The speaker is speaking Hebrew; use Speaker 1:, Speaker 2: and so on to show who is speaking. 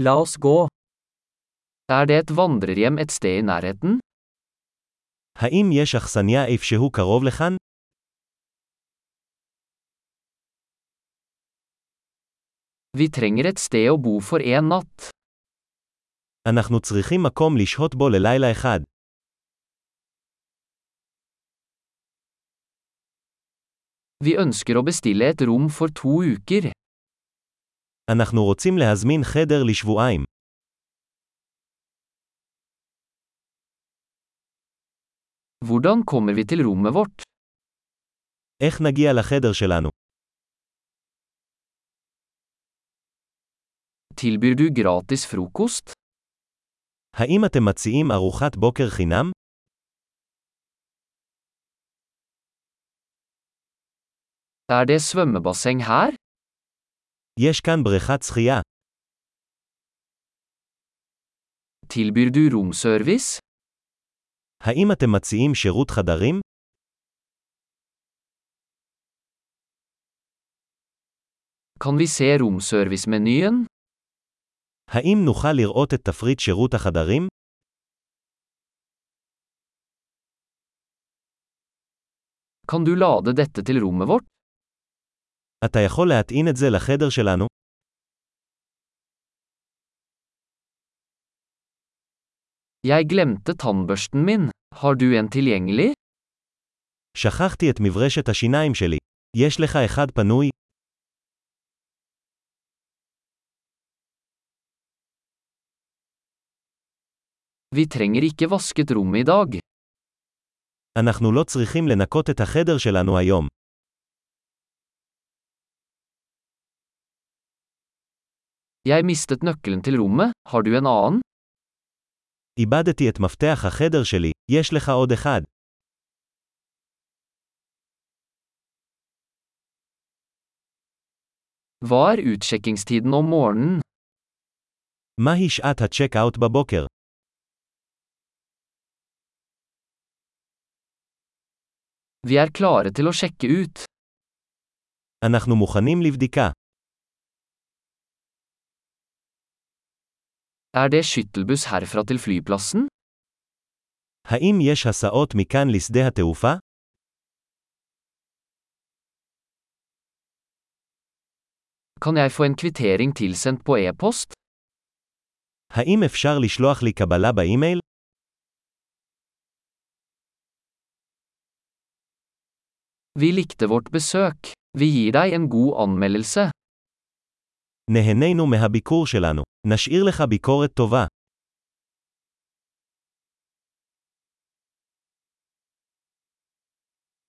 Speaker 1: La oss gå. Er det et vandrerhjem et sted i nærheten?
Speaker 2: האם יש אכסניה איפשהו קרוב לכאן?
Speaker 1: Vi trenger et sted å bo for en natt.
Speaker 2: אנחנו צריכים מקום לשהות בו ללילה אחד.
Speaker 1: Vi ønsker å bestille et rom for to uker.
Speaker 2: אנחנו רוצים להזמין חדר לשבועיים.
Speaker 1: Hvordan kommer vi til rommet vårt?
Speaker 2: איך נגיע לחדר שלנו?
Speaker 1: Tilbyr du gratis frokost?
Speaker 2: האם אתם מציעים ארוחת בוקר חינם?
Speaker 1: Er det svømmebasseng her?
Speaker 2: יש כאן בריכת שחייה.
Speaker 1: Tilbyr du romservice?
Speaker 2: האם אתם מציעים שירות חדרים?
Speaker 1: Kan vi se romservice-menyen?
Speaker 2: האם נוכל לראות את תפריט שירות החדרים?
Speaker 1: Kan du lade dette til rommet vårt?
Speaker 2: אתה יכול להטעין את זה לחדר שלנו?
Speaker 1: Jeg glemte tannbørsten min. Har du en tilgjengelig?
Speaker 2: שכחתי את מברשת השיניים שלי. יש לך אחד פנוי?
Speaker 1: Vi trenger ikke vasket rommet i dag.
Speaker 2: אנחנו לא צריכים לנקות את החדר שלנו היום.
Speaker 1: Jeg mistet nøkkelen til rommet. Har du en annen?
Speaker 2: איבדתי את מפתח החדר שלי, יש לך עוד אחד.
Speaker 1: Hva er utsjekkingstiden om morgenen?
Speaker 2: מהי שעת הצ'ק-אאוט בבוקר?
Speaker 1: Vi er klare til å sjekke ut.
Speaker 2: אנחנו מוכנים לבדיקה.
Speaker 1: Er det skyttelbuss herfra til flyplassen?
Speaker 2: האם יש הסעות מכאן לשדה התעופה?
Speaker 1: Kan jeg få en kvittering tilsendt på e-post?
Speaker 2: האם אפשר לשלוח לי קבלה באימייל?
Speaker 1: Vi likte vårt besøk. Vi gir deg en god anmeldelse.
Speaker 2: נהנינו מהביקור שלנו. נשאיר לך ביקורת טובה.